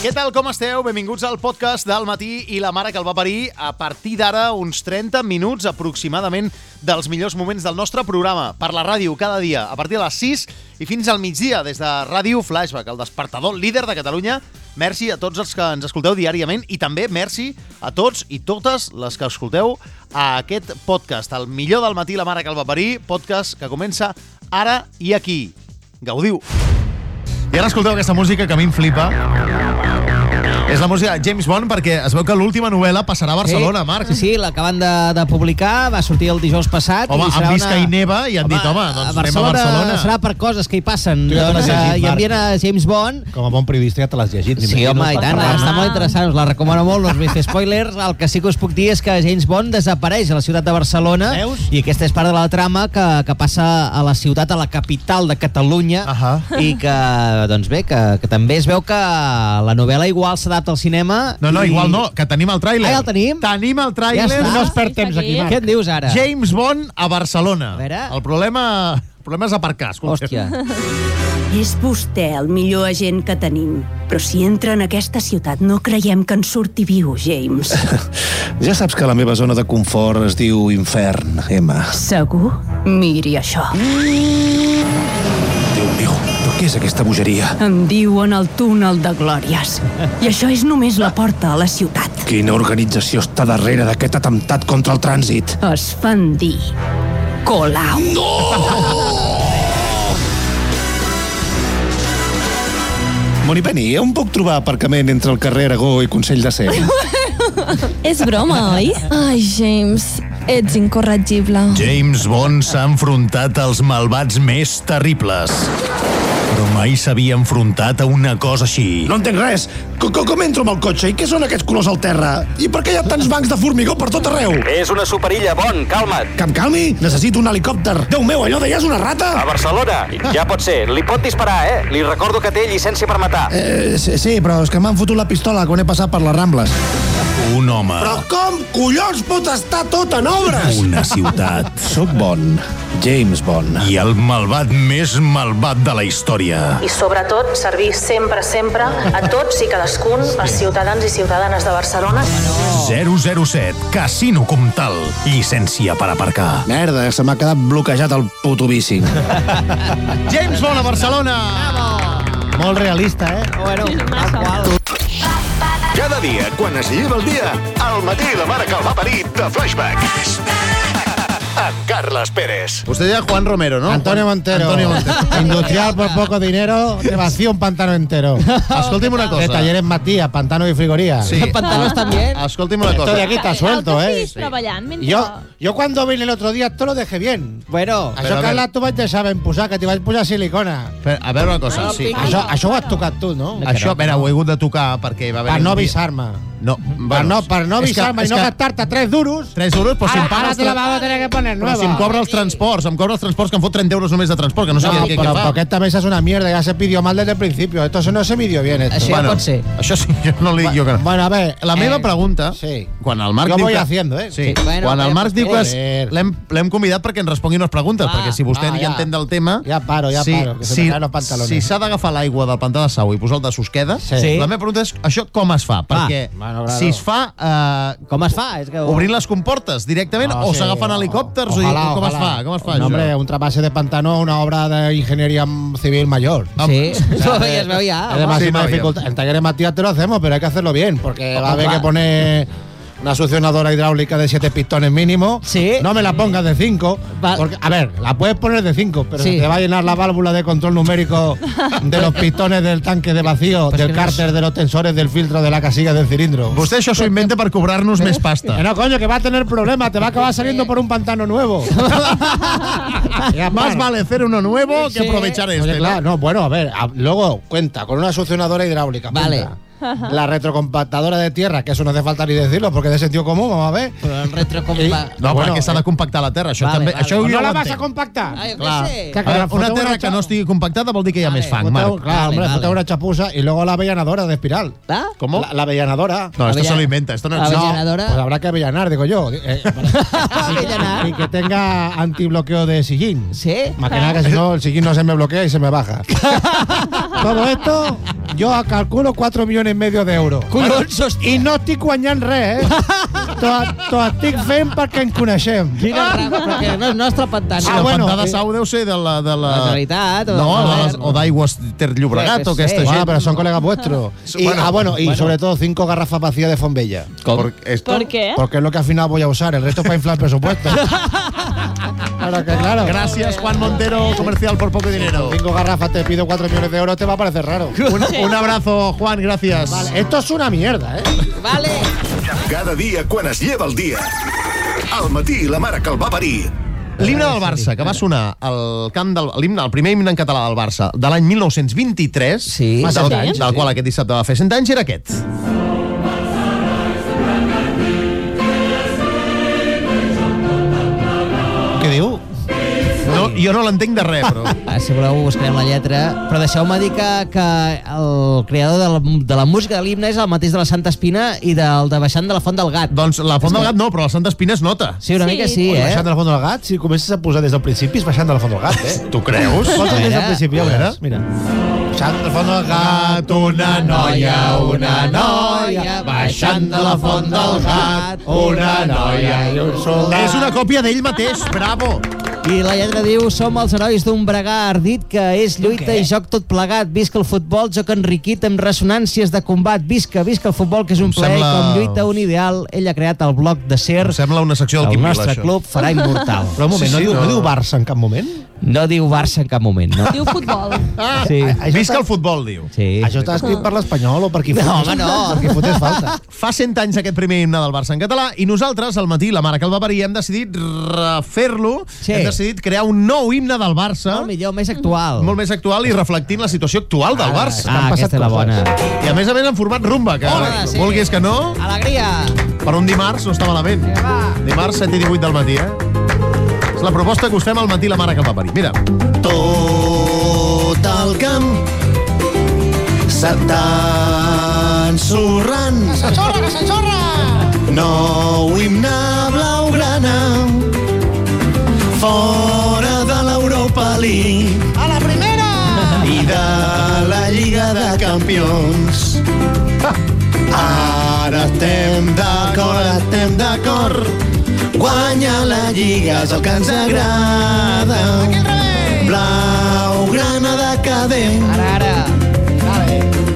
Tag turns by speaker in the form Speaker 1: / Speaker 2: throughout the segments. Speaker 1: Què tal, com esteu? Benvinguts al podcast del matí i la mare que el va parir. A partir d'ara, uns 30 minuts aproximadament dels millors moments del nostre programa per la ràdio cada dia, a partir de les 6 i fins al migdia, des de Ràdio Flashback, el despertador líder de Catalunya. Merci a tots els que ens escolteu diàriament i també merci a tots i totes les que escolteu a aquest podcast, el millor del matí i la mare que el va parir, podcast que comença ara i aquí. Gaudiu! I ara escolteu aquesta música que a mi em flipa. És la música de James Bond perquè es veu que l'última novel·la passarà a Barcelona, Marc.
Speaker 2: Sí, sí l'acaben de, de publicar, va sortir el dijous passat.
Speaker 1: Home, han vist que hi neva i han dit, home, doncs anem a Barcelona.
Speaker 2: Serà per coses que hi passen.
Speaker 3: Tu ja te l'has
Speaker 2: eh,
Speaker 3: llegit, Marc.
Speaker 2: I envien a James Bond.
Speaker 3: Com a bon periodista ja te l'has llegit.
Speaker 2: Sí,
Speaker 3: m'imagino,
Speaker 2: home, i
Speaker 3: per
Speaker 2: tant,
Speaker 3: parlar-ne.
Speaker 2: està molt interessant, us la recomano molt, no us vull fer spoilers. El que sí que us puc dir és que James Bond desapareix a la ciutat de Barcelona
Speaker 3: Veus?
Speaker 2: i aquesta és part de la trama que, que passa a la ciutat, a la capital de Catalunya
Speaker 3: Ahà.
Speaker 2: i que, doncs bé, que, que també es veu que la novel·la igual s'adapta al cinema.
Speaker 1: No, no,
Speaker 2: i-
Speaker 1: igual no, que tenim el tràiler.
Speaker 2: Ah, ja el tenim?
Speaker 1: Tenim el tràiler.
Speaker 2: Ja està.
Speaker 1: No es
Speaker 2: per
Speaker 4: Sí, temps aquí,
Speaker 2: Què en dius ara?
Speaker 1: James Bond a Barcelona.
Speaker 2: A veure.
Speaker 1: El problema, el problema és aparcar, escolta.
Speaker 2: Hòstia.
Speaker 5: És vostè el millor agent que tenim. Però si entra en aquesta ciutat no creiem que en surti viu, James.
Speaker 6: Ja saps que la meva zona de confort es diu infern, Emma.
Speaker 5: Segur? Miri això.
Speaker 6: Déu meu, però què és aquesta bogeria?
Speaker 5: Em diuen el túnel de glòries. I això és només la porta a la ciutat.
Speaker 6: Quina organització està darrere d'aquest atemptat contra el trànsit?
Speaker 5: Es fan dir Colau.
Speaker 6: Monipenny, on puc trobar aparcament entre el carrer Aragó i Consell de Cent?
Speaker 4: És broma, oi? Ai, James, ets incorregible.
Speaker 1: James Bond s'ha enfrontat als malvats més terribles. Però mai s'havia enfrontat a una cosa així.
Speaker 6: No entenc res. Co- co- Com entro amb el cotxe? I què són aquests colors al terra? I per què hi ha tants bancs de formigó per tot arreu?
Speaker 7: És una superilla, Bon, calma't.
Speaker 6: Que em calmi? Necessito un helicòpter. Déu meu, Oh, allò d'allà és una rata?
Speaker 7: A Barcelona. Ja pot ser. Li pot disparar, eh? Li recordo que té llicència per matar.
Speaker 6: Eh, sí, sí, però és que m'han fotut la pistola quan he passat per les Rambles.
Speaker 1: Un home,
Speaker 6: com collons pot estar tot en obres?
Speaker 1: una ciutat
Speaker 6: Soc Bon, James Bond.
Speaker 1: i el malvat més malvat de la història.
Speaker 8: i sobretot servir sempre, sempre a tots i cadascun els ciutadans i ciutadanes de Barcelona.
Speaker 1: 007 Casino Comtal. Llicència per aparcar.
Speaker 6: Merda, eh, se m'ha quedat bloquejat el puto bici.
Speaker 1: James Bond a Barcelona!
Speaker 3: Molt realista, eh?
Speaker 2: Bueno, tal qual.
Speaker 9: Cada dia, quan es lleva el dia, al matí la mare que el va parir de Flashback. Amb Carles Pérez.
Speaker 1: Vostè deia Juan Romero, no?
Speaker 3: Antonio Montero.
Speaker 1: Antonio Montero.
Speaker 3: Industrial por poco dinero, te vacío un pantano entero.
Speaker 1: Escolti'm una cosa.
Speaker 3: De talleres Matías, pantano y frigoría.
Speaker 1: Sí.
Speaker 2: Pantanos també.
Speaker 1: Escolti'm una
Speaker 3: Esto de
Speaker 1: cosa.
Speaker 3: aquí está suelto, eh.
Speaker 4: Sí. treballant mentre...
Speaker 3: Yo, yo cuando vine el otro día, esto lo dejé bien.
Speaker 2: Bueno,
Speaker 1: Però a
Speaker 3: Això que la tu vaig deixar ben posar, que t'hi vaig posar silicona.
Speaker 1: Espera, A veure una cosa, sí.
Speaker 3: Això, això ho has tocat tu, no?
Speaker 1: Això, a veure, ho he hagut de tocar perquè va haver...
Speaker 3: Per no avisar-me.
Speaker 1: No,
Speaker 3: Per
Speaker 1: bueno,
Speaker 3: no, per no
Speaker 1: és que-
Speaker 3: avisar-me i
Speaker 1: és
Speaker 3: no
Speaker 1: que
Speaker 3: gastar-te 3 duros.
Speaker 1: 3 euros, però si em
Speaker 3: Ahora,
Speaker 1: paga
Speaker 3: ahora
Speaker 1: els
Speaker 3: te la
Speaker 1: tra-
Speaker 3: vas a tener que poner
Speaker 1: però
Speaker 3: nueva.
Speaker 1: si em cobra els transports, em cobra els transports, que em fot 30 euros només de transport, que no sé
Speaker 3: No,
Speaker 1: què, què,
Speaker 3: pero
Speaker 1: què fa.
Speaker 3: porque esta mesa es una mierda, ya se pidió mal desde el principio. Esto se- no se midió bien. Esto.
Speaker 2: Així- pot ser.
Speaker 1: Això pues sí, jo no li dic jo que no.
Speaker 3: Bueno, a ver,
Speaker 1: La meva
Speaker 3: eh,
Speaker 1: pregunta,
Speaker 3: sí.
Speaker 1: quan el Marc
Speaker 3: Jo
Speaker 1: diu
Speaker 3: voy
Speaker 1: que...
Speaker 3: haciendo, eh?
Speaker 1: Sí.
Speaker 2: Sí, bueno,
Speaker 1: quan el
Speaker 2: eh,
Speaker 1: Marc diu que
Speaker 3: joder.
Speaker 1: es... l'hem l'hem convidat perquè ens respongui unes preguntes,
Speaker 2: Va,
Speaker 1: perquè si vostè
Speaker 3: va,
Speaker 1: ja,
Speaker 3: Ah, ja.
Speaker 1: entén del tema...
Speaker 3: Ja paro, ja paro, que se me caen los pantalones.
Speaker 1: Si s'ha d'agafar l'aigua del pantà de Sau i posar el de Susqueda,
Speaker 2: Sí.
Speaker 1: la meva pregunta és això com es fa? Perquè
Speaker 3: Ah, Bueno, claro.
Speaker 1: si es fa... Eh,
Speaker 2: com es fa? Ah, És que... Ah,
Speaker 1: obrint les comportes directament
Speaker 3: No,
Speaker 1: o
Speaker 3: sí,
Speaker 1: s'agafen
Speaker 3: o-
Speaker 1: helicòpters
Speaker 3: ojalá,
Speaker 1: o com es
Speaker 3: ojalá.
Speaker 1: fa? Com es fa
Speaker 3: No,
Speaker 1: això?
Speaker 3: hombre, un trapase de pantano, una obra de ingeniería civil mayor.
Speaker 2: Sí, ja es veu ja.
Speaker 3: Es de
Speaker 2: home.
Speaker 3: máxima
Speaker 1: no, ya.
Speaker 3: dificultad. En Talleres Matías te lo hacemos, pero hay que hacerlo bien, porque va a haber
Speaker 2: Ojalá.
Speaker 3: que poner una succionadora hidráulica de 7 pistones mínimo.
Speaker 2: Sí.
Speaker 3: No me la pongas de 5.
Speaker 2: Va-
Speaker 3: Porque, a ver, la puedes poner de 5, pero
Speaker 2: Sí.
Speaker 3: se te va a llenar la válvula de control numérico de los pistones del tanque de vacío,
Speaker 2: Pues
Speaker 3: del
Speaker 2: que no es-
Speaker 3: cárter, de los tensores, del filtro, de la casilla, del cilindro.
Speaker 1: Vostè això s'ho inventa per cobrar-nos més pasta.
Speaker 3: Que no, coño, que va a tener problemas, te va a acabar saliendo por un pantano nuevo. Y aparte-
Speaker 1: Más vale hacer uno nuevo que
Speaker 2: Sí.
Speaker 1: aprovechar
Speaker 3: Oye,
Speaker 1: este.
Speaker 3: claro, no, bueno, a ver, a- luego cuenta con una succionadora hidráulica.
Speaker 2: Vale.
Speaker 3: cuenta. La retrocompactadora de tierra, que eso no hace falta ni decirlo, porque es de sentido común, vamos a ver.
Speaker 2: Però el retrocompa...
Speaker 3: Sí.
Speaker 1: No, no
Speaker 3: Bueno, eh.
Speaker 1: perquè s'ha de compactar la terra. Això
Speaker 2: eh, vale,
Speaker 1: també,
Speaker 2: vale.
Speaker 1: això
Speaker 3: ¿O
Speaker 1: jo
Speaker 3: no la
Speaker 1: ho
Speaker 3: vas a
Speaker 1: entenc.
Speaker 3: compactar.
Speaker 2: Ai, jo
Speaker 1: Clar.
Speaker 2: què sé.
Speaker 3: Que
Speaker 1: A veure,
Speaker 3: la
Speaker 1: una
Speaker 3: foteu
Speaker 1: terra
Speaker 3: una
Speaker 1: que no
Speaker 3: xapa.
Speaker 1: estigui compactada vol dir que hi ha més fang,
Speaker 3: Foteu-
Speaker 1: Marc.
Speaker 3: claro, hombre,
Speaker 2: Vale,
Speaker 3: foteu
Speaker 2: vale.
Speaker 3: una chapuza y luego la avellanadora de espiral.
Speaker 2: Va?
Speaker 1: Com?
Speaker 3: La, la avellanadora.
Speaker 1: No, esto
Speaker 2: ¿Ah? Avellana-
Speaker 1: se lo inventa. Esto no
Speaker 2: La
Speaker 1: existe.
Speaker 2: avellanadora.
Speaker 3: Pues habrá que avellanar, digo yo. eh, para-
Speaker 2: Avellanar.
Speaker 3: y que tenga antibloqueo de sillín.
Speaker 2: Sí?
Speaker 3: Más que nada que si no, el sillín no se me bloquea y se me baja. Todo esto Jo calculo 4 milions i medio d'euros.
Speaker 2: Collons, hòstia.
Speaker 3: I no estic guanyant res, eh? T'ho t'ho estic fent perquè ens coneixem.
Speaker 2: Quina drama, perquè no és nostre pantà.
Speaker 3: Ah,
Speaker 2: no.
Speaker 3: bueno,
Speaker 1: Pantà de
Speaker 3: sí.
Speaker 1: Sau deu ser de la... De la...
Speaker 2: eh. La Generalitat, o
Speaker 1: o no,
Speaker 2: del
Speaker 1: de les,
Speaker 2: govern.
Speaker 1: o d'Aigües Ter Llobregat
Speaker 2: Jo què
Speaker 1: o aquesta gent.
Speaker 2: sé.
Speaker 3: Bueno, Ah, pero son colegas vuestros. Y,
Speaker 1: Bueno,
Speaker 3: ah, bueno, y
Speaker 1: bueno.
Speaker 3: sobre todo cinco garrafas vacías de Fonbella.
Speaker 1: Por- esto-
Speaker 4: ¿Por qué?
Speaker 3: Porque es lo que al final voy a usar. El resto es para inflar el presupuesto. claro que claro.
Speaker 1: Gracias, Juan Montero, comercial por poco dinero.
Speaker 3: Cinco garrafas, te pido cuatro millones de euros, te va a parecer raro.
Speaker 1: Un, un abrazo, Juan, gracias.
Speaker 3: Vale, esto es una mierda, ¿eh?
Speaker 2: Vale.
Speaker 9: Cada dia quan es lleva el dia. Al matí, la mare que el va parir.
Speaker 1: L'himne del Barça, que va sonar al camp del... L'himne, el primer himne en català del Barça, de l'any 1923,
Speaker 2: Sí.
Speaker 1: del,
Speaker 2: Fa cent
Speaker 1: del,
Speaker 2: anys,
Speaker 1: del qual aquest dissabte va fer 100 anys, era aquest. Què diu? No, jo no l'entenc de res, però...
Speaker 2: Ah, Si voleu, buscarem la lletra. Però deixeu-me dir que, que el creador de la, de la música de l'himne és el mateix de la Santa Espina i del de Baixant de la Font del Gat.
Speaker 1: doncs la Font del Gat no, però la Santa Espina es nota.
Speaker 2: Sí, una
Speaker 4: Sí.
Speaker 2: mica sí,
Speaker 3: Pues
Speaker 2: eh?
Speaker 3: baixant de la Font del Gat, si comences a posar des del principi, és baixant de la Font del Gat, eh?
Speaker 1: Tu creus?
Speaker 3: Posa't des del principi, ja
Speaker 1: A
Speaker 3: ho
Speaker 1: veure.
Speaker 3: veuràs. Mira. Baixant de la Font del Gat,
Speaker 1: una
Speaker 2: noia, una noia, baixant de la font del Gat, una noia
Speaker 3: i un
Speaker 1: És una còpia d'ell mateix, bravo!
Speaker 2: I la lletra diu Som els herois d'un bregar ardit que és lluita i joc tot plegat. Visca el futbol, joc enriquit amb ressonàncies de combat. Visca, visca el futbol, que és un
Speaker 1: Em
Speaker 2: plaer
Speaker 1: sembla-
Speaker 2: sembla... com lluita un ideal. Ell ha creat el bloc de ser.
Speaker 1: Em sembla una secció del
Speaker 2: El
Speaker 1: Quim Vila,
Speaker 2: nostre
Speaker 1: això.
Speaker 2: club farà immortal.
Speaker 3: Però un moment,
Speaker 1: Sí,
Speaker 3: no,
Speaker 1: sí,
Speaker 3: diu,
Speaker 1: no.
Speaker 3: no. diu Barça en cap moment?
Speaker 2: No diu Barça en cap moment, no?
Speaker 4: Diu futbol.
Speaker 2: Sí.
Speaker 3: Això
Speaker 1: Visca
Speaker 3: està-
Speaker 1: el futbol, diu.
Speaker 2: Sí.
Speaker 3: Això està escrit per l'espanyol o per qui
Speaker 2: No,
Speaker 3: fotés-
Speaker 2: home, no.
Speaker 3: Per qui fotés falta.
Speaker 1: Fa 100 anys aquest primer himne del Barça en català i nosaltres, al matí, la mare que el va parir, hem decidit refer-lo,
Speaker 2: Sí.
Speaker 1: hem decidit crear un nou himne del Barça,
Speaker 2: Molt millor, més actual.
Speaker 1: molt més actual i reflectint la situació actual del Barça.
Speaker 2: Ah, aquesta és la bona.
Speaker 1: I a més a més en format rumba, que
Speaker 2: Hola, sí.
Speaker 1: vulguis que no,
Speaker 2: Alegria!
Speaker 1: per un dimarts no està malament.
Speaker 2: va.
Speaker 1: Dimarts 7 i 18 del matí, eh? És la proposta que us fem al matí la mare que el va parir. Mira.
Speaker 6: Tot el camp se t'ensorrant. Que s'ensorra, que s'ensorra! Nou himne blaugrana fora de l'Europa League. A la primera! I de la Lliga de Campions. Ah. Ara estem d'acord, ara estem d'acord. Guanya la Lliga, és el que ens agrada. Blau, grana de cadent,
Speaker 2: Ara, ara.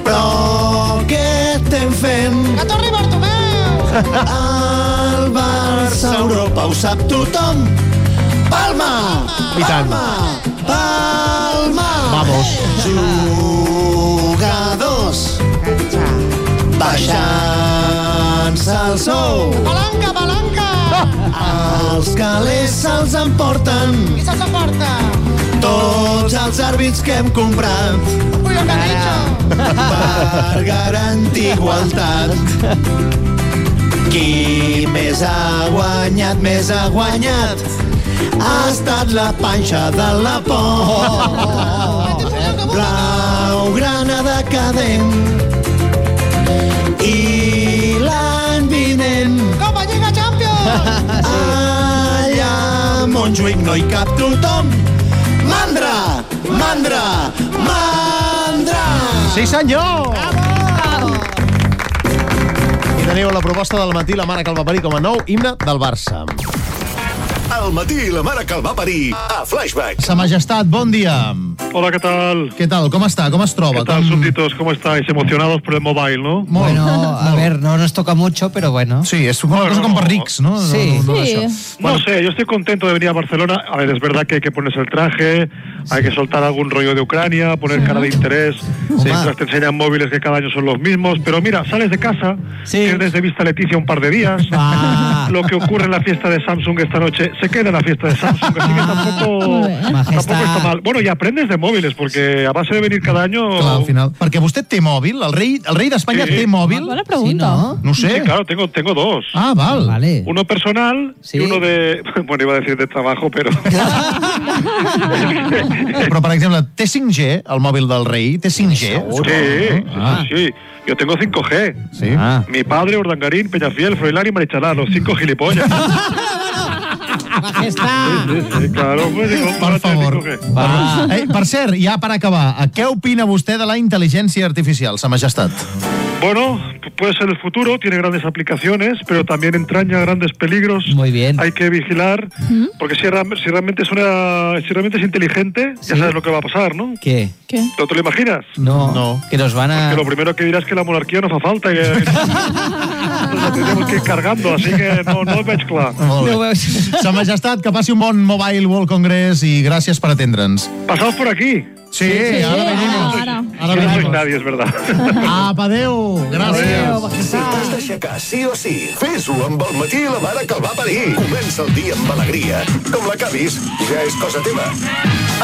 Speaker 6: però què estem fent? Que torni Bartomeu! El Barça a Europa ho sap tothom. Palma!
Speaker 1: I tant.
Speaker 6: Palma! Palma!
Speaker 1: Vamos.
Speaker 6: Jugadors! Baixant-se el sou! Palanca,
Speaker 1: Ah!
Speaker 6: palanca! Els calés se'ls emporten. Qui se'ls emporta? Tots els àrbits que hem comprat per garantir igualtat. Qui més ha guanyat, més ha guanyat, ha estat la panxa de la por. Blau grana decadent i l'any vinent Copa Lliga Champions allà a Montjuïc no hi cap tothom mandra, mandra, mandra
Speaker 1: Sí, senyor! Bravo! I teniu la proposta del matí la mare que el va parir com a nou himne del Barça.
Speaker 9: Al matí, la mare que el va parir. A Flashback.
Speaker 1: Sa Majestat, bon dia.
Speaker 10: Hola, ¿qué tal?
Speaker 1: Què tal? Com està? Com es troba?
Speaker 10: ¿Qué tal,
Speaker 1: Com-
Speaker 10: súbditos? ¿Cómo estáis? Emocionados por el mobile, ¿no?
Speaker 1: Molt.
Speaker 2: Bueno, a ver, no nos toca mucho, pero bueno.
Speaker 1: Sí, és una cosa com per rics, no?
Speaker 2: Sí.
Speaker 1: No, no, no,
Speaker 4: Sí.
Speaker 1: això.
Speaker 10: No sé, yo estoy contento de venir a Barcelona. A ver, es verdad que hay que ponerse el traje, hay que soltar algún rollo de Ucrania, poner cara de interés, mientras te enseñan móviles que cada año son los mismos. Pero mira, sales de casa,
Speaker 2: Sí.
Speaker 10: pierdes de vista a Leticia un par de días.
Speaker 2: Ah.
Speaker 10: Lo que ocurre en la fiesta de Samsung esta noche se queda en la fiesta de Samsung, así que tampoco,
Speaker 2: Ah.
Speaker 10: tampoco
Speaker 2: Majestad.
Speaker 10: está mal. Bueno, y aprendes de móviles, porque a base de venir cada año.
Speaker 1: Clar, al final. Perquè vostè té mòbil? El rei, el rei d'Espanya
Speaker 10: Sí.
Speaker 1: té mòbil?
Speaker 4: Bona
Speaker 2: Sí,
Speaker 4: pregunta.
Speaker 2: no?
Speaker 1: No ho
Speaker 10: Sí,
Speaker 1: sé.
Speaker 10: claro, tengo, tengo dos.
Speaker 1: Ah, val.
Speaker 2: Vale.
Speaker 10: Uno personal
Speaker 2: Sí.
Speaker 10: y uno de. Bueno, iba a decir de trabajo, pero.
Speaker 1: Però, per exemple, té 5G, el mòbil del rei? Té 5G?
Speaker 10: sí,
Speaker 1: Ah.
Speaker 10: sí, sí. Yo tengo 5G.
Speaker 1: Sí.
Speaker 2: Ah.
Speaker 10: Mi padre, Urdangarín, Peñafiel, Froilán y Marichalar, los cinco gilipollas.
Speaker 3: Majestad.
Speaker 10: Claro, pues, digo,
Speaker 1: Per favor.
Speaker 10: Ah.
Speaker 3: Va.
Speaker 1: Eh, per cert, ja per acabar, a què opina vostè de la intel·ligència artificial, sa majestat?
Speaker 10: Bueno, puede ser el futuro, tiene grandes aplicaciones, pero también entraña grandes peligros. Muy bien. Hay que vigilar, porque si, ra- si realmente es una, si realmente es inteligente, ya sabes lo que va a pasar, ¿no?
Speaker 2: Què?
Speaker 10: ¿No te lo imaginas?
Speaker 2: No, no. que nos van a...
Speaker 10: Pues Que lo primero que dirás es que la monarquía no hace falta, que nos la tenemos que ir cargando, así que no, no veig clar.
Speaker 1: Molt bé. Sa majestat, que passi un bon Mobile World Congress i gràcies per atendre'ns.
Speaker 10: Pasaos por aquí.
Speaker 1: Sí, sí, ara venimos.
Speaker 10: Ahora no soy nadie, es verdad.
Speaker 1: Apa, adeu. Gràcies.
Speaker 9: Si t'has d'aixecar sí o sí, fes-ho amb el matí i la mare que el va parir. Comença el dia amb alegria. Com l'acabis, ja és cosa teva.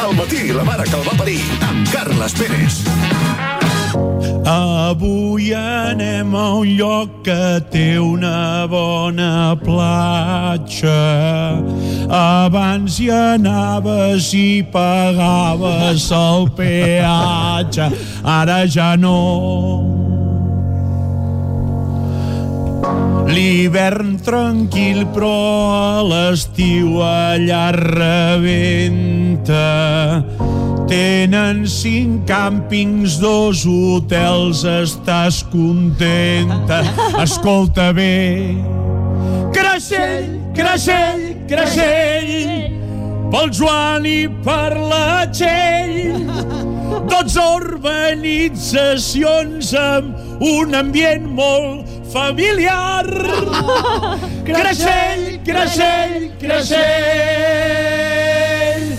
Speaker 9: Al matí i la mare que el va parir, amb Carles Pérez.
Speaker 11: Avui anem a un lloc que té una bona platja. Abans hi anaves i pagaves el peatge. Ara ja no. L'hivern tranquil, però a l'estiu allà rebenta. Tenen cinc càmpings, dos hotels, estàs contenta. Escolta bé. Creixell, creixell, creixell, pel Joan i per la Txell. 12 urbanitzacions amb un ambient molt familiar. Creixell, creixell, creixell.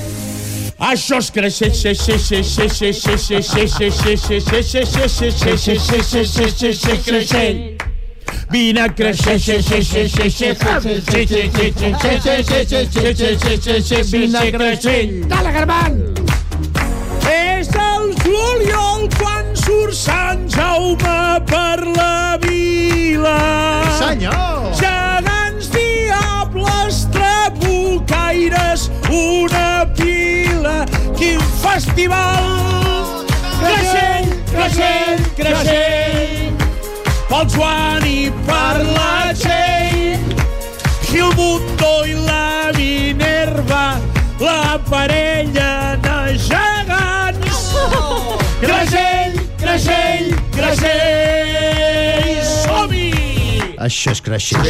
Speaker 11: Això és creixer, xe, xe, xe, xe, xe, xe, xe, xe, xe, xe, xe, xe, xe, xe, xe, xe, xe, xe, xe, xe, xe, creixell. Vine a creixer, xe, xe, xe, xe, xe, xe, xe, xe, xe, xe, xe, xe, xe, vine a creixell.
Speaker 3: Dale, Germán.
Speaker 11: És el juliol quan surt Sant Jaume per la vila.
Speaker 1: Senyor!
Speaker 11: Gegants, diables, trabucaires, una pila. Quin festival! Creixell, creixell, creixell, pel Joan i per la Txell. Gilmundo i la Minerva, la parella de gegants. Creixell, creixell, creixell, som-hi!
Speaker 1: Això és creixer.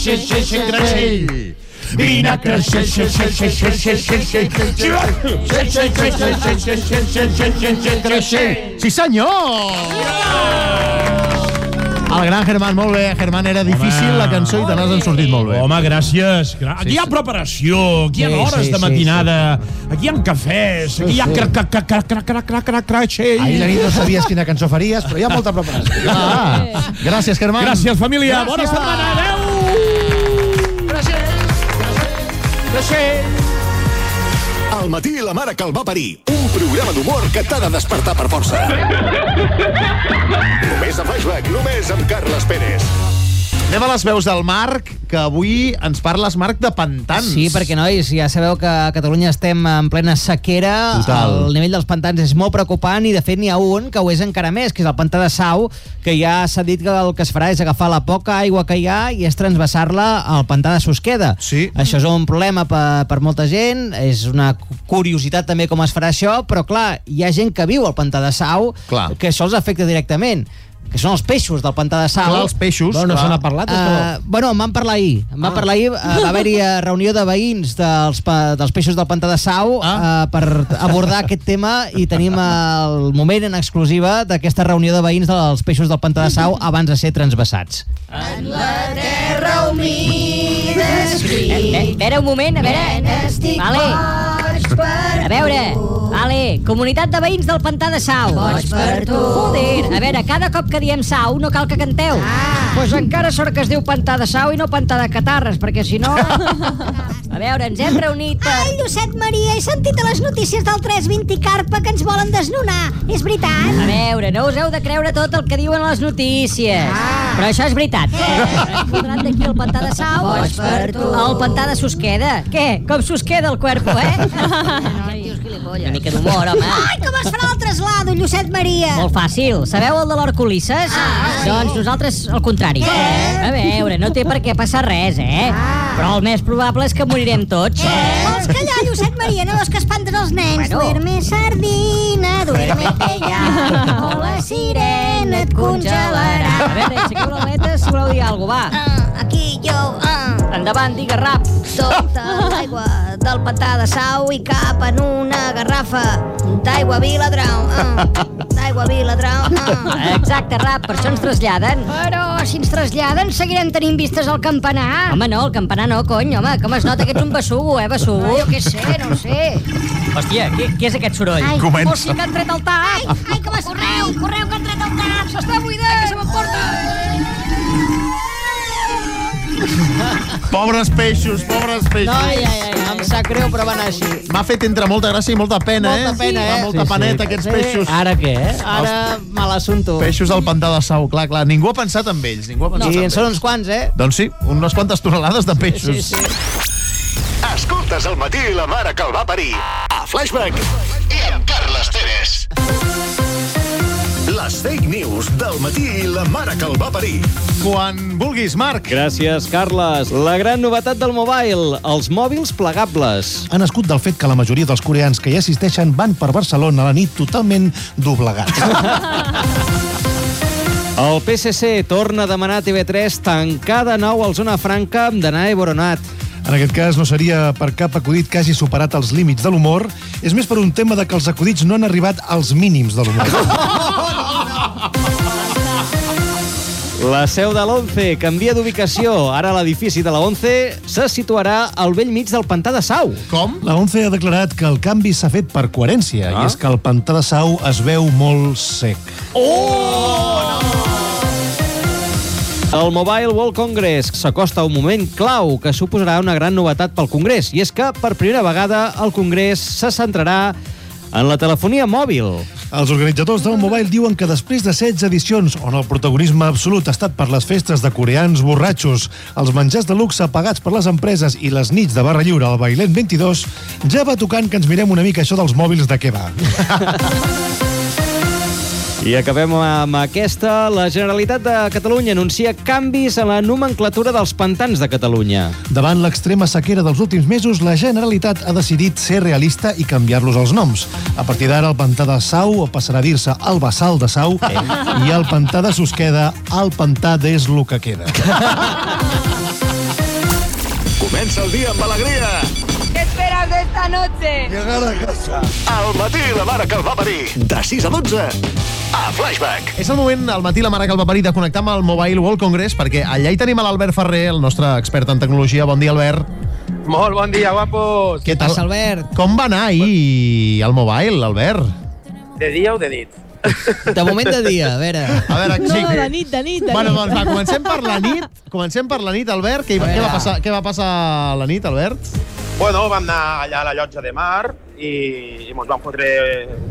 Speaker 11: Creixell. Vine a creixer, xe, xe, xe, xe, xe, xe, xe, xe, xe, xe, creixell.
Speaker 1: Sí, senyor! El gran Germán, molt bé. Germán, era difícil la cançó i te n'has en sortit molt bé.
Speaker 11: Home, gràcies. Gra- Aquí hi ha preparació, aquí hi ha
Speaker 1: Sí,
Speaker 11: hores
Speaker 1: sí,
Speaker 11: de
Speaker 1: sí,
Speaker 11: matinada, aquí hi ha cafès, aquí hi ha cra cra cra cra cra cra cra cra creixell.
Speaker 3: Ahir la nit no sabies quina cançó faries, però hi ha molta preparació.
Speaker 1: Ah, gràcies, Germán.
Speaker 11: Gràcies, família. Bona
Speaker 1: Gràcies.
Speaker 11: setmana. Adéu. Creixell.
Speaker 9: Al matí i la mare que el va parir. Un programa d'humor que t'ha de despertar per força. només a Flashback, només amb Carles Pérez.
Speaker 1: Anem a les veus del Marc, que avui ens parles, Marc, de pantans.
Speaker 2: Sí, perquè, nois, ja sabeu que a Catalunya estem en plena sequera.
Speaker 1: Total.
Speaker 2: El nivell dels pantans és molt preocupant i, de fet, n'hi ha un que ho és encara més, que és el pantà de Sau, que ja s'ha dit que el que es farà és agafar la poca aigua que hi ha i és transvasar-la al pantà de Susqueda.
Speaker 1: Sí.
Speaker 2: Això és un problema per, per molta gent, és una cu- curiositat també com es farà això, però, clar, hi ha gent que viu al pantà de Sau
Speaker 1: Clar.
Speaker 2: que això els afecta directament que són els peixos del pantà de Sau.
Speaker 1: Clar, els peixos, Bueno, no clar. Ah. se n'ha parlat,
Speaker 2: Eh,
Speaker 1: d'això?
Speaker 2: Bueno, em van parlar ahir. Em van parlar ahir, eh, va haver-hi eh, reunió de veïns dels, pa- dels peixos del Pantà de Sau
Speaker 1: Ah.
Speaker 2: eh, per abordar aquest tema i tenim el moment en exclusiva d'aquesta reunió de veïns dels peixos del Pantà de Sau abans de ser transvasats.
Speaker 12: Terra humida Eh, Espera un moment, a veure. Vale. A veure, vale. Comunitat de veïns del Pantà de Sau. Boig per tu. Joder, a veure, cada cop que diem Sau no cal que canteu. Ah. Pues encara sort que es diu Pantà de Sau i no Pantà de Catarres, perquè si no... A veure, ens hem reunit... Per...
Speaker 13: Ai, Llucet Maria, he sentit a les notícies del 320 Carpa que ens volen desnonar. És veritat?
Speaker 12: A veure, no us heu de creure tot el que diuen les notícies. Ah. Però això és veritat. Eh? Fotran d'aquí el pantà de Sau. Boig per tu. El pantà de Susqueda. Què? Com Susqueda el cuerpo, eh? Una mica d'humor, home.
Speaker 13: Ai, com es farà el Eslado, Llucet Maria.
Speaker 12: Molt fàcil. Sabeu el de l'Horculisses? Ah, doncs nosaltres al contrari. Eh? A veure, no té per què passar res, eh? Ah. Però el més probable és que morirem tots. Eh?
Speaker 13: Vols callar, Llucet Maria? No veus que espantes els nens? Bueno. Duerme sardina, duerme ella, o la sirena et congelarà.
Speaker 12: A veure, aixequeu l'aleta si voleu dir alguna cosa, va.
Speaker 13: Ah, aquí jo, ah.
Speaker 12: Endavant, digue rap.
Speaker 13: Sota l'aigua del pantà de sau i cap en una garrafa d'aigua Viladrau. Ah. D'aigua Viladrau. Ah.
Speaker 12: Exacte, rap, per això ens traslladen.
Speaker 13: Però si ens traslladen seguirem tenint vistes al campanar.
Speaker 12: Home, no, el campanar no, cony, home, com es nota que ets un bessugo, eh, bessugo.
Speaker 13: Ah, Jo què sé, no ho sé.
Speaker 12: Hòstia, què, què és aquest soroll?
Speaker 13: Ai,
Speaker 12: Comença.
Speaker 13: o sigui que han tret el tap. Ai, ai, com es... Correu, correu, que han tret el tap. S'està buidant. Ai, que se m'emporta.
Speaker 1: Pobres peixos, pobres peixos.
Speaker 2: Ai, ai, ai, em sap greu, però va anar així.
Speaker 1: M'ha fet entre molta gràcia i molta pena, eh?
Speaker 2: Molta pena, eh?
Speaker 1: Fa molta
Speaker 2: Sí, sí.
Speaker 1: paneta, aquests
Speaker 2: Sí.
Speaker 1: peixos.
Speaker 2: Ara què, eh? Ara me l'assunto.
Speaker 1: Peixos del pantà de Sau, clar, clar. Ningú ha pensat en ells, ningú ha pensat
Speaker 2: I
Speaker 1: en
Speaker 2: en
Speaker 1: ells.
Speaker 2: són uns quants, eh?
Speaker 1: Doncs sí, unes quantes tonelades de peixos.
Speaker 2: sí,
Speaker 9: Escoltes el matí i la mare que el va parir. A Flashback. I amb Carles Pérez. Les fake news del matí i la mare que el va parir.
Speaker 1: Quan vulguis, Marc.
Speaker 14: Gràcies, Carles. La gran novetat del mobile, els mòbils plegables.
Speaker 15: ha nascut del fet que la majoria dels coreans que hi assisteixen van per Barcelona a la nit totalment doblegats.
Speaker 14: El PSC torna a demanar a TV3 tancar de nou el Zona Franca amb Danae Boronat.
Speaker 15: En aquest cas no seria per cap acudit que hagi superat els límits de l'humor, és més per un tema de que els acudits no han arribat als mínims de
Speaker 2: Oh,
Speaker 15: l'humor.
Speaker 14: La seu de l'11 canvia d'ubicació. Ara l'edifici de la 11 se situarà al vell mig del pantà de Sau.
Speaker 1: Com?
Speaker 15: La ONCE ha declarat que el canvi s'ha fet per coherència, ah? i és que el pantà de Sau es veu molt sec.
Speaker 11: Oh!
Speaker 14: El Mobile World Congress s'acosta a un moment clau que suposarà una gran novetat pel Congrés, i és que per primera vegada el Congrés se centrarà en la telefonia mòbil.
Speaker 15: Els organitzadors del Mobile diuen que després de 16 edicions on el protagonisme absolut ha estat per les festes de coreans borratxos, els menjars de luxe pagats per les empreses i les nits de barra lliure al Bailent 22, ja va tocant que ens mirem una mica això dels mòbils de què va.
Speaker 14: I acabem amb aquesta. La Generalitat de Catalunya anuncia canvis a la nomenclatura dels pantans de Catalunya.
Speaker 15: Davant l'extrema sequera dels últims mesos, la Generalitat ha decidit ser realista i canviar-los els noms. A partir d'ara, el pantà de Sau passarà a dir-se el Bassal de Sau i el pantà de Susqueda, el pantà d'és lo que queda.
Speaker 9: Comença el dia amb alegria.
Speaker 16: ¿Qué esperas de esta noche?
Speaker 9: Llegar a casa. Al matí i la mare que el va parir. De 6 a 12. A Flashback.
Speaker 1: És el moment, al matí, la mare que el va parir, de connectar amb el Mobile World Congress, perquè allà hi tenim a l'Albert Ferrer, el nostre expert en tecnologia. Bon dia, Albert.
Speaker 17: Molt bon dia, guapos.
Speaker 1: Què tal? Albert? Com va anar ahir el Mobile, Albert?
Speaker 17: De dia o de nit?
Speaker 1: De moment de dia, a veure. A veure,
Speaker 17: No,
Speaker 1: sí.
Speaker 17: de nit, de nit, de
Speaker 1: bueno,
Speaker 17: nit.
Speaker 1: doncs va, comencem per la nit. Comencem per la nit, Albert. Què, hi va- què, va, passar, què va passar a la nit, Albert?
Speaker 17: Bueno, vam anar allà a la llotja de mar i, i mos vam fotre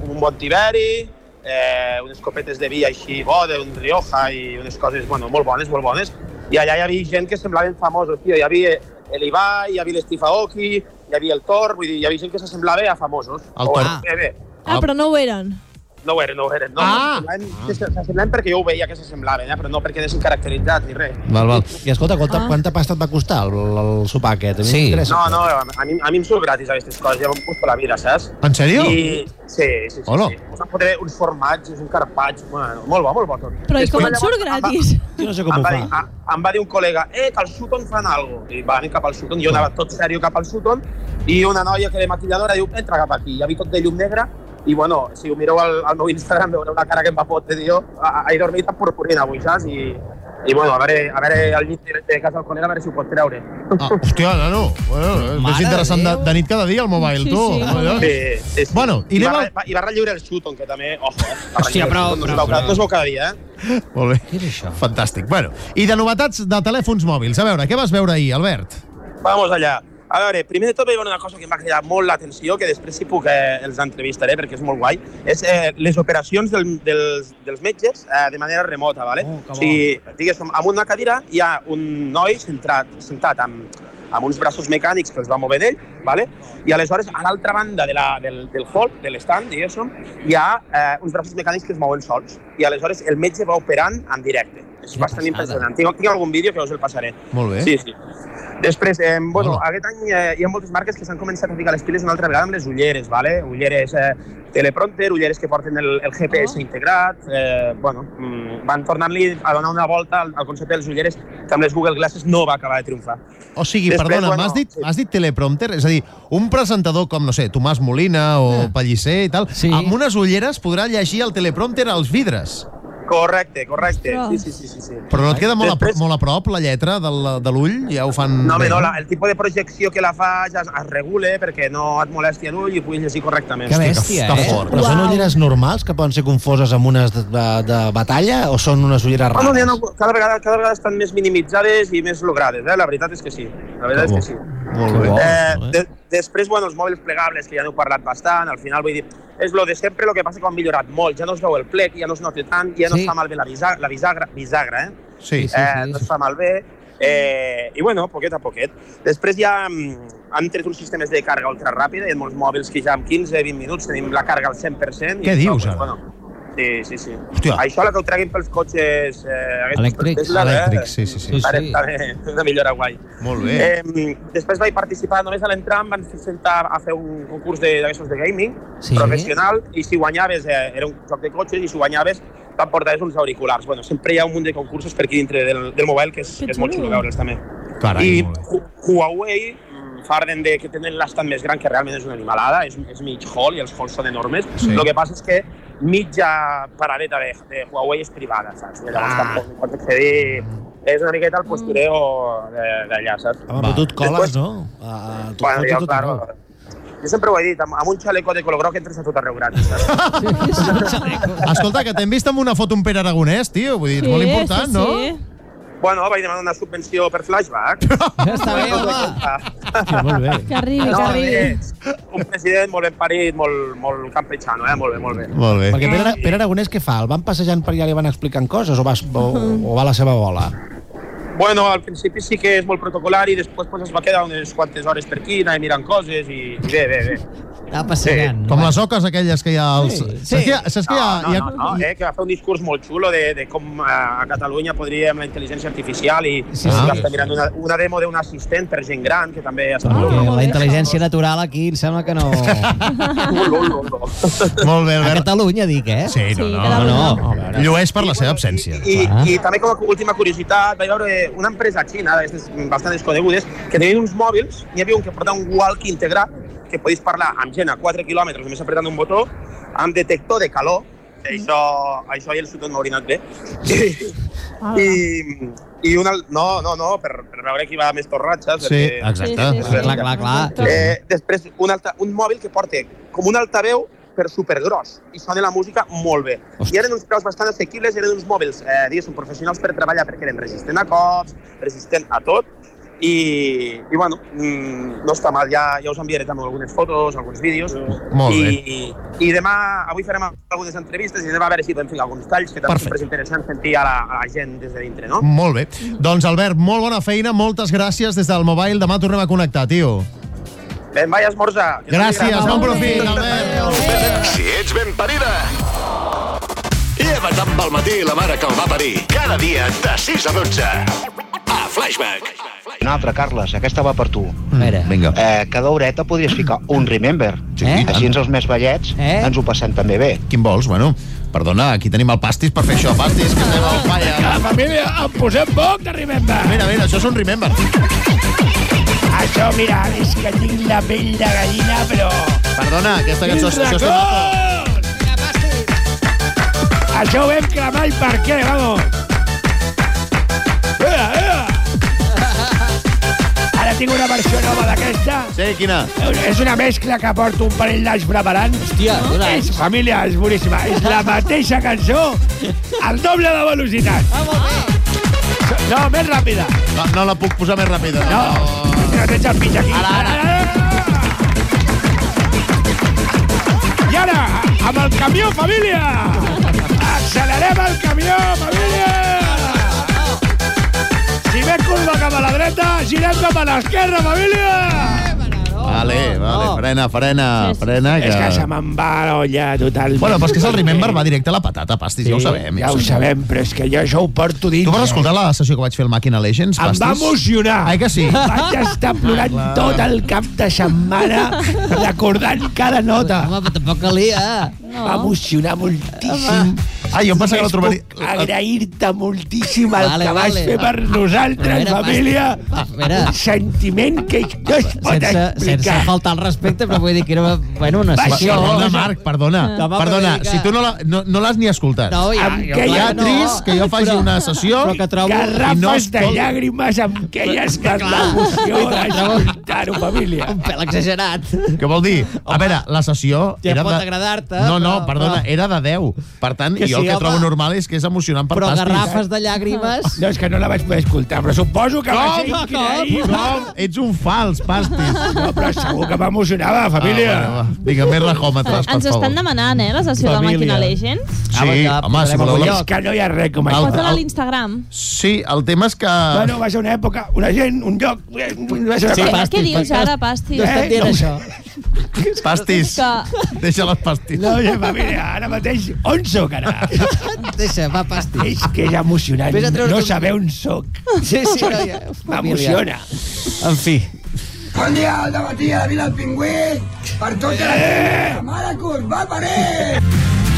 Speaker 17: un bon tiberi, eh, unes copetes de vi així bo, d'un Rioja i unes coses, bueno, molt bones, molt bones. I allà hi havia gent que semblaven famosos, tio. Hi havia l'Ibai, hi havia l'Estifa Oki, hi havia el Tor, vull dir, hi havia gent que s'assemblava a famosos.
Speaker 1: El Tor.
Speaker 17: Ah. Bé, bé.
Speaker 4: Ah, però no ho eren.
Speaker 17: No ho eren, no ho eren. No,
Speaker 4: Ah.
Speaker 17: s'assemblaven- S'assemblaven perquè jo ho veia que s'assemblaven, eh? però no perquè anessin caracteritzats ni res.
Speaker 1: Val, val.
Speaker 15: I escolta, quanta,
Speaker 17: Ah.
Speaker 15: quanta pasta et va costar el, el sopar aquest? A mi m'interessa.
Speaker 17: No, no, a mi, a mi em surt gratis aquestes coses, ja m'ho costa la vida, saps?
Speaker 1: En sèrio?
Speaker 17: I, sí, sí, sí.
Speaker 1: Hola.
Speaker 17: sí. Us van fotre uns formatges, un carpatge, bueno, molt bo, molt bo tot.
Speaker 4: Però i com
Speaker 17: Després,
Speaker 4: et surt
Speaker 17: llavors,
Speaker 4: gratis?
Speaker 17: Em va,
Speaker 15: jo no sé com
Speaker 17: em
Speaker 15: ho
Speaker 17: va
Speaker 15: fa.
Speaker 17: dir, a, em va dir un col·lega, eh, que al Sutton fan algo. I va anar cap al Sutton, jo anava tot sèrio cap al Sutton, i una noia que era maquilladora diu, entra cap aquí, ja vi tot de llum negra, i bueno, si ho mireu al, al meu Instagram veureu la cara que em va fotre, tio, Ah, ah, he dormit amb purpurina avui, saps? I, i bueno, a veure, a veure el llit de, de casa del col·lega, a veure si ho pot treure.
Speaker 1: Ah, hòstia, nano. Bueno, és
Speaker 17: Mare
Speaker 1: interessant de,
Speaker 17: Déu.
Speaker 1: de nit cada dia, el Mobile, tu. Allò.
Speaker 17: sí, sí.
Speaker 1: Bueno, i
Speaker 17: I,
Speaker 1: anem
Speaker 17: va,
Speaker 1: al...
Speaker 17: va, I va relliure el Sutton, que també... Ojo, eh? Va
Speaker 1: Hòstia,
Speaker 17: relliure el
Speaker 1: però- però-
Speaker 17: Sutton, No es veu cada-
Speaker 1: però-
Speaker 17: no es veu cada dia, eh?
Speaker 1: Molt bé. Què és això? Fantàstic. Bueno, i de novetats de telèfons mòbils. A veure, què vas veure ahir, Albert?
Speaker 17: Vamos allà. A veure, primer de tot vaig veure una cosa que em va cridar molt l'atenció, que després si puc eh, els entrevistaré perquè és molt guai, és eh, les operacions del, dels, dels metges eh, de manera remota, ¿vale? Oh, o sigui, diguéssim, amb una cadira hi ha un noi centrat, sentat amb, amb uns braços mecànics que els va mover d'ell, vale? i aleshores a l'altra banda de la, del, del hall, de l'estand, diguéssim, hi ha eh, uns braços mecànics que es mouen sols, i aleshores el metge va operant en directe. És bastant impressionant. Tinc, tinc algun vídeo que us el passaré.
Speaker 1: Molt bé.
Speaker 17: Sí, sí. Després, eh, bueno, aquest any eh, hi ha moltes marques que s'han començat a ficar les piles una altra vegada amb les ulleres, vale? ulleres eh, teleprompter, ulleres que porten el, el GPS integrat, eh, bueno, mm, van tornant-li a donar una volta al, al concepte de les ulleres que amb les Google Glasses no va acabar de triomfar.
Speaker 1: O sigui,
Speaker 17: Després,
Speaker 1: perdona,
Speaker 17: bueno,
Speaker 1: m'has dit, m'has dit teleprompter? És a dir, un presentador com, no sé, Tomàs Molina o Pellicer i tal, amb unes ulleres podrà llegir el teleprompter als vidres.
Speaker 17: Correcte, correcte. Sí, sí, sí, sí, sí.
Speaker 1: Però no et queda molt, a, pro- molt a prop la lletra de la- de l'ull? Ja ho fan...
Speaker 17: No,
Speaker 1: bé,
Speaker 17: home, no, la, el tipus de projecció que la fa ja es, es regule perquè no et molesti en ull i puguis llegir correctament.
Speaker 3: eh?
Speaker 17: eh?
Speaker 6: Però són ulleres normals que poden ser confoses amb unes de, de, de batalla o són unes ulleres
Speaker 17: Ah, no,
Speaker 6: rares?
Speaker 17: no, no, cada, vegada, cada vegada estan més minimitzades i més logrades, eh? la veritat és que sí. La veritat és que sí.
Speaker 6: Molt bé.
Speaker 17: Eh, de, després, bueno, els mòbils plegables, que ja n'heu parlat bastant, al final vull dir, és lo de sempre, el que passa que ho han millorat molt, ja no es veu el plec, ja no es nota tant, ja no
Speaker 1: Sí.
Speaker 17: es fa malbé la bisagra, la bisagra, bisagra eh?
Speaker 1: Sí, sí, sí,
Speaker 17: eh,
Speaker 1: sí,
Speaker 17: no
Speaker 1: sí.
Speaker 17: es fa malbé, eh, i bueno, poquet a poquet. Després ja mm, han tret uns sistemes de càrrega ultraràpida, hi ha molts mòbils que ja en 15-20 minuts tenim la càrrega al 100%.
Speaker 1: Què
Speaker 17: i,
Speaker 1: dius,
Speaker 17: no,
Speaker 1: ara?
Speaker 17: Bueno, Sí, sí, sí.
Speaker 1: Hòstia.
Speaker 17: Això la que ho treguin pels cotxes eh,
Speaker 1: Elèctrics. Elèctrics, sí, sí, sí. Sí, sí.
Speaker 17: sí. Una millora guai.
Speaker 1: Molt bé.
Speaker 17: Eh, després vaig participar, només a l'entram van sentar a fer un concurs de, d'aquestos de gaming
Speaker 1: Sí.
Speaker 17: professional i si guanyaves, eh, era un joc de cotxes, i si guanyaves t'emportaves uns auriculars. Bueno, sempre hi ha un munt de concursos per aquí dintre del, del mobile que és, que és molt xulo veure'ls també.
Speaker 1: Carai,
Speaker 17: I
Speaker 1: molt bé.
Speaker 17: Hu- Huawei mm, farden de que tenen l'stand més gran, que realment és una animalada, és, és mig hall i els halls són enormes.
Speaker 1: Sí.
Speaker 17: Sí. El que passa és que mitja paradeta de, de Huawei és privada, saps? I llavors
Speaker 6: Ah. Mm.
Speaker 17: ah. tampoc hi pots accedir... És una miqueta el postureo de- d'allà, saps?
Speaker 6: Home, però tu et coles, no? A, a tu,
Speaker 17: Bueno,
Speaker 6: tu,
Speaker 17: jo,
Speaker 6: tu, tu,
Speaker 17: claro, jo sempre ho he dit, amb, amb un xaleco de color groc entres a tot arreu gratis, saps?
Speaker 1: Escolta, que t'hem vist amb una foto amb Pere Aragonès, tio. Vull dir, és molt important, no?
Speaker 17: Bueno, vaig demanar una subvenció per flashback. Ja està bé, home.
Speaker 1: Hòstia, molt bé.
Speaker 4: Que arribi, que arribi.
Speaker 17: bé, eh, Un president molt ben parit, molt, molt campechano, eh? Molt bé, molt bé.
Speaker 1: Molt bé.
Speaker 6: Perquè Pere, Pere Aragonès què fa? El van passejant per allà i li van explicant coses o va, o, o va a la seva bola?
Speaker 17: Bueno, al principi sí que és molt protocolar i després pues, es va quedar unes quantes hores per aquí, anar mirant coses i, i bé, bé, bé.
Speaker 1: Ah,
Speaker 2: Anava passejant.
Speaker 1: Com les oques aquelles que hi ha als... Saps que hi ha... Saps que hi ha,
Speaker 17: no,
Speaker 1: hi ha...
Speaker 17: no, no, no, eh, que va fer un discurs molt xulo de, de com eh, a Catalunya podríem la intel·ligència artificial i sí, sí, va estar mirant una, una demo d'un assistent per gent gran que també
Speaker 1: Ah.
Speaker 17: està...
Speaker 2: Perquè la intel·ligència natural aquí em sembla que no...
Speaker 1: Molt bé,
Speaker 2: Albert. A Catalunya, dic, eh?
Speaker 1: Sí, no, no. no, no. Llueix per la seva absència.
Speaker 17: I, I també com a última curiositat, vaig veure una empresa xina, d'aquestes bastant desconegudes, que tenia uns mòbils, n'hi havia un que portava un walkie integrat, que podies parlar amb gent a 4 quilòmetres només apretant un botó, amb detector de calor, que això, això i el sud m'ha orinat bé, i, i una, no, no, no, per, per veure qui va més torratxa.
Speaker 1: Sí, exacte. Sí, sí, sí. Clar, clar, clar.
Speaker 17: Eh, després, un, alta, un mòbil que porta com un altaveu però supergros, i sona la música molt bé. I eren uns preus bastant assequibles, eren uns mòbils, eh, diguéssim, professionals per treballar, perquè eren resistent a cops, resistent a tot, i, i bueno, mm, no està mal, ja, ja us enviaré també algunes fotos, alguns vídeos.
Speaker 1: Molt
Speaker 17: I,
Speaker 1: bé.
Speaker 17: I, I demà, avui farem algunes entrevistes i demà a veure si podem ficar alguns talls, que també sempre és interessant sentir a la, a la gent des de dintre, no?
Speaker 1: Molt bé. Doncs, Albert, molt bona feina, moltes gràcies des del mobile. Demà tornem a connectar, tio.
Speaker 17: Ben, vaig a esmorzar. Que
Speaker 1: Gràcies,
Speaker 17: estigui
Speaker 1: bon
Speaker 17: gran.
Speaker 1: profit,
Speaker 9: Si ets ben parida, lleva't amb el matí la mare que el va parir. Cada dia de 6 a 12. A Flashback.
Speaker 18: Una altra, Carles, aquesta va per tu.
Speaker 2: Mira.
Speaker 18: Vinga. Eh, cada horeta podries ficar un Remember. Sí, eh? Així ens els més vellets eh? ens ho passem també bé.
Speaker 1: Quin vols? Bueno, perdona, aquí tenim el pastis per fer això. Pastis, que anem al falla.
Speaker 3: Que la família en posem poc de Remember.
Speaker 1: Mira, mira, això és un Remember.
Speaker 3: Això, mira, és que tinc la pell de gallina, però...
Speaker 1: Perdona, aquesta cançó-
Speaker 3: Quins
Speaker 1: això és-
Speaker 3: records! Això ho vam clamar i per què, vamos. Ea, ea! Ara tinc una versió nova d'aquesta.
Speaker 1: Sí, quina?
Speaker 3: És una mescla que porto un parell d'anys preparant. Hòstia, és, família, és boníssima. És la mateixa cançó, al doble de velocitat. No, més ràpida.
Speaker 1: No, no la puc posar més ràpida.
Speaker 3: No, no tens el pitch aquí. Ara, ara. I ara, amb el camió, família! Accelerem el camió, família! Si
Speaker 19: Fem curva cap a la dreta, girem cap a l'esquerra, família!
Speaker 1: Vale, vale,
Speaker 19: no.
Speaker 1: frena, frena, frena.
Speaker 19: És que se me'n va la olla totalment.
Speaker 1: Bueno, però és que és el Remember va directe a la patata, pastis,
Speaker 19: Sí,
Speaker 1: ja ho sabem.
Speaker 19: ja ho sabem, però és que jo això ho porto dins.
Speaker 1: Tu vas escoltar la sessió que vaig fer al Màquina Legends,
Speaker 19: Em
Speaker 1: pastis?
Speaker 19: va emocionar.
Speaker 1: Ai que sí?
Speaker 19: Vaig estar plorant
Speaker 1: Ah, clar.
Speaker 19: tot el cap de setmana recordant cada nota. Home, però tampoc calia. No. Va emocionar moltíssim.
Speaker 1: Ah, jo em pensava que la trobaria-
Speaker 19: Puc agrair-te moltíssim el
Speaker 1: Vale,
Speaker 19: que vas
Speaker 1: vale.
Speaker 19: fer per
Speaker 1: A
Speaker 19: nosaltres,
Speaker 1: veure,
Speaker 19: família. Un sentiment que no
Speaker 1: Ah,
Speaker 19: es pot
Speaker 2: Sense,
Speaker 19: explicar.
Speaker 2: sense faltar al respecte, però vull dir que era una, bueno, una
Speaker 1: Va,
Speaker 2: sessió.
Speaker 1: Perdona, Marc, perdona.
Speaker 2: No, home,
Speaker 1: perdona,
Speaker 2: però dic que-
Speaker 1: si tu no l'has no, no l'has ni escoltat.
Speaker 2: No, ja,
Speaker 1: Em
Speaker 2: jo
Speaker 1: queia
Speaker 2: clar que no.
Speaker 1: trist que jo faci
Speaker 2: Però-
Speaker 1: una sessió
Speaker 2: però que trobo-
Speaker 1: i no
Speaker 19: Garrafes de
Speaker 1: escolto.
Speaker 19: llàgrimes amb què hi has estat l'emoció d'escoltar-ho, família. Un pèl exagerat.
Speaker 1: Què vol dir? A veure, la sessió...
Speaker 2: ja pot
Speaker 1: de-
Speaker 2: agradar-te,
Speaker 1: No, no,
Speaker 2: però-
Speaker 1: perdona,
Speaker 2: però-
Speaker 1: era de 10. Per tant,
Speaker 19: Que
Speaker 1: jo
Speaker 19: sí,
Speaker 1: el que
Speaker 19: home.
Speaker 1: trobo normal és que és emocionant per
Speaker 2: Però
Speaker 1: pastis.
Speaker 2: garrafes de llàgrimes...
Speaker 19: No, és que no la vaig poder escoltar, però suposo que va ser
Speaker 1: Com?
Speaker 19: increïble.
Speaker 1: Com? Ets un fals, pastis.
Speaker 19: No, però segur que m'emocionava, família.
Speaker 1: Ah, bueno, va. Vinga, més rajòmetres, per
Speaker 4: Ens
Speaker 1: favor.
Speaker 4: estan demanant, eh, la sessió de
Speaker 1: Família.
Speaker 4: Màquina Legends.
Speaker 2: Ah,
Speaker 1: Sí, home, si voleu...
Speaker 19: És que no hi ha res com això.
Speaker 4: Posa-la a l'Instagram.
Speaker 1: Sí, el tema és que...
Speaker 19: Bueno, va ser una època, una gent, un lloc... eh, Va ser una
Speaker 4: Sí,
Speaker 19: cosa. Eh?
Speaker 4: pastis, Què dius pastis. ara, pastis? No estan dient això.
Speaker 1: Pastis,
Speaker 4: que-
Speaker 1: deixa les pastis.
Speaker 19: No, ja, família, ara mateix, on sóc ara?
Speaker 2: Deixa, va, pastis.
Speaker 19: És que és emocionant.
Speaker 2: Vés a treure
Speaker 19: No
Speaker 2: tu-
Speaker 19: saber on sóc.
Speaker 2: Sí, sí, no, ja,
Speaker 19: M'emociona.
Speaker 2: En fi.
Speaker 20: Bon dia, al dematí a la Vila del Pingüí, per tota la eh! mare que us va parir!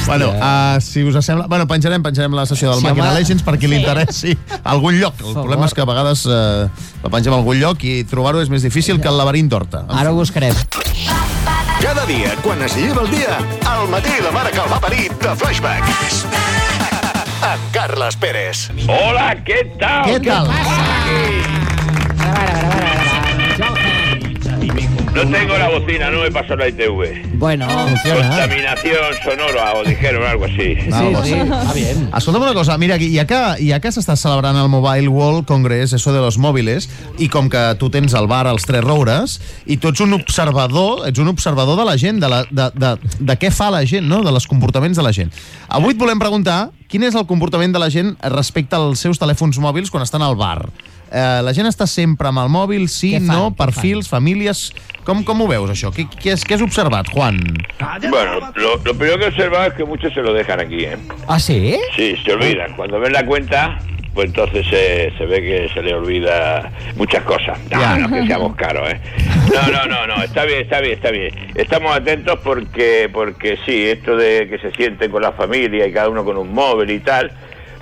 Speaker 1: Bueno, uh, si us sembla... Bueno, penjarem, penjarem la sessió del
Speaker 2: Sí,
Speaker 1: sí, Màquina
Speaker 2: home.
Speaker 1: Legends per qui li
Speaker 2: Sí.
Speaker 1: interessi a algun lloc. El
Speaker 2: favor.
Speaker 1: problema és que a vegades uh, la pengem a algun lloc i trobar-ho és més difícil que el laberint d'Horta.
Speaker 2: Ara ho buscarem.
Speaker 9: Cada dia, quan es lleva el dia, al matí la mare que el va parir de Flashback. Amb Carles Pérez. Hola, què tal?
Speaker 1: Què tal?
Speaker 21: No tengo la bocina, no me pasó la ITV.
Speaker 2: Bueno, funciona.
Speaker 21: Contaminación sonora, o dijeron algo así.
Speaker 1: Está bien. Escolta'm una cosa, mira, ja que, ja que s'està celebrant el Mobile World Congress, eso de los mòbiles, i com que tu tens el bar als Tres Roures, i tu ets un observador, ets un observador de la gent, de, la, de, de, de què fa la gent, no? de les comportaments de la gent. Avui et volem preguntar quin és el comportament de la gent respecte als seus telèfons mòbils quan estan al bar. Eh, la gent està sempre amb el mòbil, sí,
Speaker 2: Què fan?
Speaker 1: no,
Speaker 2: Què
Speaker 1: perfils, famílies... Com, com ho veus, això? Què, què, has, què has observat, Juan?
Speaker 21: Bueno, lo, lo primero que he observado es que muchos se lo dejan aquí, ¿eh?
Speaker 2: Ah, sí?
Speaker 21: Sí, se olvidan. Cuando ven la cuenta, pues entonces se, se ve que se le olvida muchas cosas. No,
Speaker 1: Ya.
Speaker 21: no es que seamos caros, ¿eh? No, no, no, no, está bien, está bien, está bien. Estamos atentos porque, porque sí, esto de que se sienten con la familia y cada uno con un móvil y tal,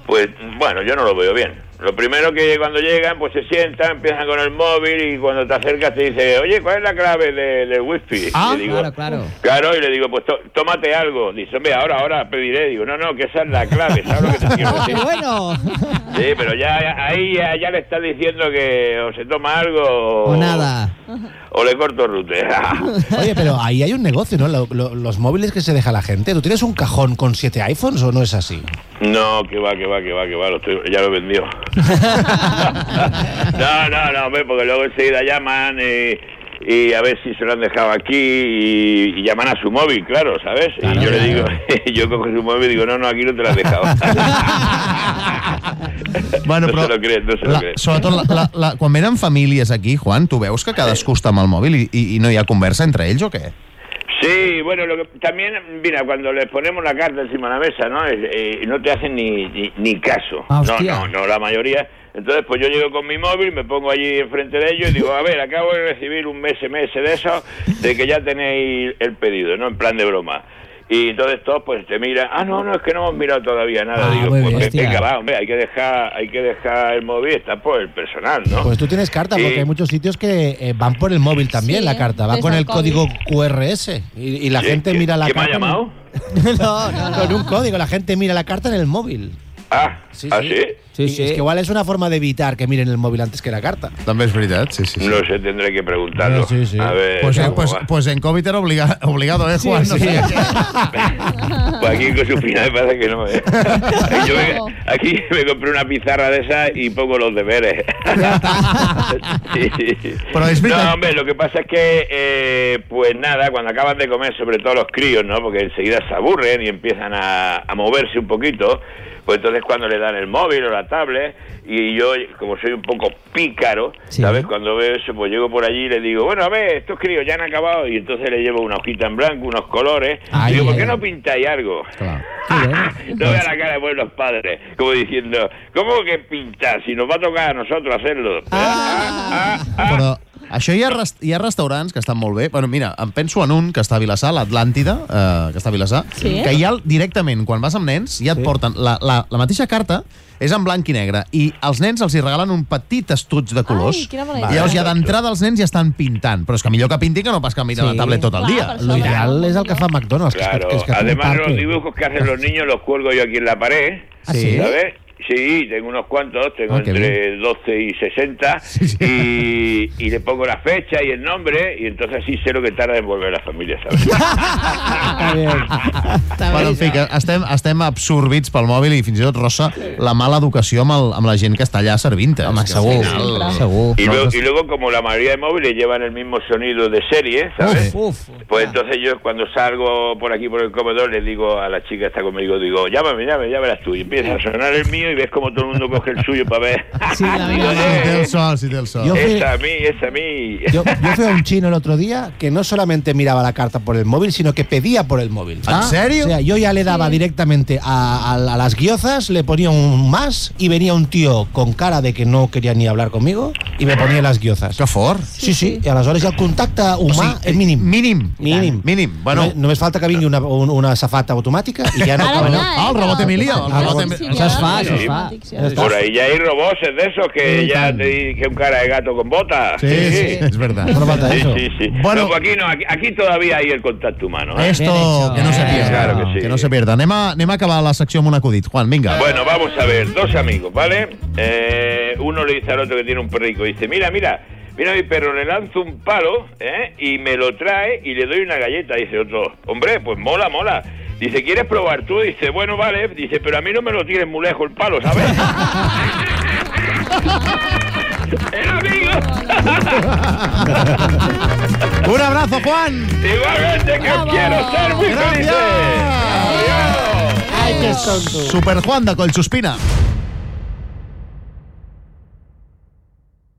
Speaker 21: pues bueno, yo no lo veo bien. Lo primero que cuando llegan, pues se sientan, empiezan con el móvil y cuando te acercas te dice, Eh, oye, ¿cuál es la clave de- del wifi?
Speaker 2: Ah,
Speaker 21: Y digo,
Speaker 2: claro, claro.
Speaker 21: Claro, y le digo, pues tó- tómate algo. Dice, hombre, ahora, ahora pediré. Digo, no, no, que esa es la clave, ¿sabes lo que te quiero
Speaker 2: Oh,
Speaker 21: decir?
Speaker 2: que bueno.
Speaker 21: Sí, pero ya, ya- ahí ya, ya le estás diciendo que o se toma algo o,
Speaker 3: O nada.
Speaker 21: o le corto rute.
Speaker 3: Oye, pero ahí hay un negocio, ¿no? Lo- lo- los móviles que se deja la gente. ¿Tú tienes un cajón con siete iPhones o no es así?
Speaker 21: no, que va, que va, que va, que va, lo estoy- ya lo vendió. no, no, no, hombre, porque luego enseguida llaman y, y a ver si se lo han dejado aquí y, y llaman a su móvil, claro, ¿sabes? y yo le digo, yo cojo su móvil y digo, no, no, aquí no te lo has dejado.
Speaker 1: Bueno,
Speaker 21: no
Speaker 1: però-
Speaker 21: se lo crees, no se lo
Speaker 1: La,
Speaker 21: crees.
Speaker 1: sobretot, la, la, la, quan venen famílies aquí, Juan, tu veus que cadascú està amb el mòbil i, i, i no hi ha conversa entre ells o què?
Speaker 21: Sí, bueno, lo que, también, mira, cuando les ponemos la carta encima de la mesa, ¿no? Eh, eh, no te hacen ni, ni, ni caso.
Speaker 22: Ah,
Speaker 21: no,
Speaker 22: hostia.
Speaker 21: no, no, la mayoría. Entonces, pues yo llego con mi móvil, me pongo allí enfrente de ellos y digo, a ver, acabo de recibir un SMS de eso, de que ya tenéis el pedido, ¿no? En plan de broma. Y entonces todos pues te miran, ah, no, no, es que no hemos mirado todavía nada.
Speaker 3: Ah,
Speaker 21: digo,
Speaker 3: muy
Speaker 21: pues
Speaker 3: bien,
Speaker 21: ve-
Speaker 3: hostia.
Speaker 21: venga, va, hombre, hay que dejar, hay que dejar el móvil, está por el personal, ¿no?
Speaker 3: Pues tú tienes carta, porque
Speaker 21: Sí.
Speaker 3: hay muchos sitios que eh, van por el móvil también
Speaker 21: Sí,
Speaker 3: la carta. Va
Speaker 21: desde
Speaker 3: con
Speaker 21: el
Speaker 3: el código QRS. Y, y la
Speaker 21: Sí,
Speaker 3: gente
Speaker 21: ¿qué-
Speaker 3: mira la
Speaker 21: qué me ha
Speaker 3: carta.
Speaker 21: llamado?
Speaker 3: no, no, no. Con un código, la gente mira la carta en el móvil.
Speaker 21: Ah, ¿ah, sí?
Speaker 3: Y Es que igual es una forma de evitar que miren el móvil antes que la carta.
Speaker 1: També és veritat, sí, sí. sí.
Speaker 21: No sé, tendré que preguntarlo.
Speaker 1: Sí, sí.
Speaker 21: A ver,
Speaker 1: pues, eh,
Speaker 21: cómo
Speaker 1: pues,
Speaker 21: va.
Speaker 1: pues en Covid era obliga, obligado, eh, Juan?
Speaker 21: sí. Pues aquí con su final parece que no. ¿eh? Yo me- aquí me compré una pizarra de esa y pongo los deberes. Sí, sí. no, hombre, lo que pasa es que, eh, pues nada, cuando acabas de comer, sobre todo los críos, ¿no? Porque enseguida se aburren y empiezan a, a moverse un poquito. Pues entonces cuando le dan el móvil o la tablet y yo, como soy un poco pícaro, ¿sabes? Cuando veo eso, pues llego por allí y le digo, bueno, a ver, estos críos ya han acabado y entonces le llevo una hojita en blanco, unos colores.
Speaker 23: Ay,
Speaker 21: y digo, ¿por
Speaker 23: ay,
Speaker 21: qué
Speaker 23: ay.
Speaker 21: no pintáis algo? No vea la cara de buenos padres, como diciendo, ¿cómo que pintar si nos va a tocar a nosotros hacerlo?
Speaker 3: Ah,
Speaker 1: Però això hi ha, res- hi ha restaurants que estan molt bé. Bueno, mira, em penso en un que està a Vilassar, l'Atlàntida, eh, que està a Vilassar,
Speaker 9: Sí.
Speaker 1: que ja el- directament, quan vas amb nens, ja et porten la, la, la mateixa carta, és en blanc i negre, i als nens els hi regalen un petit estuig de colors.
Speaker 9: Ai, quina bona idea.
Speaker 1: I llavors ja d'entrada els nens ja estan pintant, però és que millor que pintin que no pas que mirin sí. la tablet tot el dia.
Speaker 3: Lo ideal és el que fa McDonald's, que
Speaker 21: Ah, Claro,
Speaker 3: es que, es que es un
Speaker 21: además los
Speaker 3: parque.
Speaker 21: dibujos que hacen los niños los cuelgo yo aquí en la pared.
Speaker 3: ¿Ah, sí?
Speaker 21: ¿Sabes? Sí, tengo unos cuantos, tengo
Speaker 3: Ah, qué
Speaker 21: entre 12 y 60 y, y le pongo la fecha y el nombre y entonces sí sé lo que tarda en volver la familia, ¿sabes?
Speaker 1: Està bé. Bueno, en fi, que estem, estem absorbits pel mòbil i fins i tot rossa la mala educació amb, el, amb la gent que està allà servint. Home,
Speaker 5: segur, segur.
Speaker 21: Y luego, y luego, como la mayoría de móviles llevan el mismo sonido de serie, ¿sabes? pues entonces yo cuando salgo por aquí por el comedor le digo a la chica que está conmigo, digo, llámame, llámame, ya verás tú. Y empieza a sonar el mío y ves como todo el mundo coge el suyo para ver. Digo,
Speaker 1: Si té
Speaker 21: "Eh,
Speaker 1: el Ah, sol, si té el sol.
Speaker 3: Jo fe-
Speaker 21: es a mí, es a mí.
Speaker 3: Yo, yo fui a un chino el otro día que no solamente miraba la carta por el móvil, sino que pedía por el móvil. Ah.
Speaker 1: ¿En serio?
Speaker 3: O sea, yo ya le daba directamente a, a- a las guiozas, le ponía un más y venía un tío con cara de que no quería ni hablar conmigo y me ponía las guiozas. ¡Qué
Speaker 1: fort!
Speaker 3: Sí, sí, y a las horas ya el contacte humà
Speaker 1: O
Speaker 3: és mínim.
Speaker 1: Mínim.
Speaker 3: Mínim.
Speaker 1: mínim. Bueno.
Speaker 3: Només, només falta que vingui una, un, una safata automàtica i ja no...
Speaker 1: Ara
Speaker 3: caben-
Speaker 1: no, Ah, el robot Emilio, el
Speaker 3: Ah,
Speaker 1: robot Em-
Speaker 3: bueno.
Speaker 1: Emilio. Això es fa, això es fa.
Speaker 21: Por ahí ya hay robots de esos que ya te dije un cara de gato con botas.
Speaker 1: Sí, sí, es verdad. No falta
Speaker 21: Sí,
Speaker 1: eso.
Speaker 21: sí, sí.
Speaker 1: Bueno.
Speaker 21: No, pues aquí no, aquí, aquí todavía hay el contacto humano. ¿eh?
Speaker 1: Esto, que no se pierda.
Speaker 21: Claro que sí.
Speaker 1: que no se pierda. Anem a, anem a acabar la secció amb un acudit. Juan, vinga.
Speaker 21: Bueno, vamos a ver, dos amigos, ¿vale? Eh, uno le dice al otro que tiene un perrico, dice, mira, mira, mira mi perro, le lanzo un palo ¿eh? y me lo trae y le doy una galleta, dice otro, hombre, pues mola, mola. Dice, ¿quieres probar tú? Dice, bueno, vale. Dice, pero a mí no me lo tires muy lejos el palo, ¿sabes? ¡El amigo!
Speaker 1: Un abrazo, Juan.
Speaker 21: Igualmente que os quiero ser muy felices.
Speaker 1: Super Juan de Collsuspina.